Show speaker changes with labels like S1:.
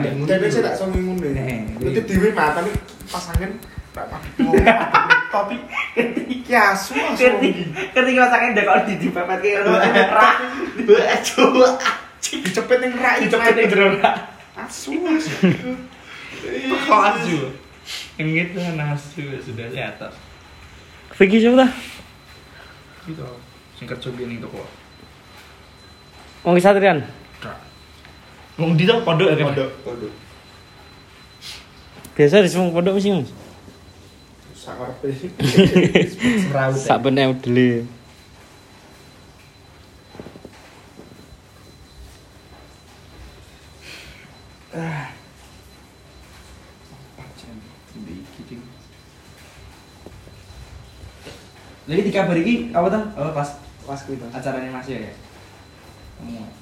S1: Mungkin saya tak song ngono.
S2: Heeh.
S1: Nanti dhewe matane pas angin tak mampu. Tapi iki asu asu.
S2: Ketika ketika masaknya udah kau di dipepet kayak gitu, rak, buat coba,
S1: Dicepet ning rak iki.
S2: dicepet di jeruk.
S1: Asu asu.
S2: Kok asu? Yang gitu kan asu sudah di atas.
S3: Vicky siapa dah?
S2: Gitu. Singkat coba nih toko.
S3: Wong Satrian.
S2: Wong di toko pondok ya kan?
S1: Pondok, pondok.
S3: Biasa di semua pondok mesti Mas.
S1: Sakarepe.
S2: Serawut. ya.
S3: Sak benek udele.
S2: Jadi di kabar ini apa tuh? Oh, pas
S1: Pas kuwi to. Oh,
S2: acaranya masih ya. Kamu.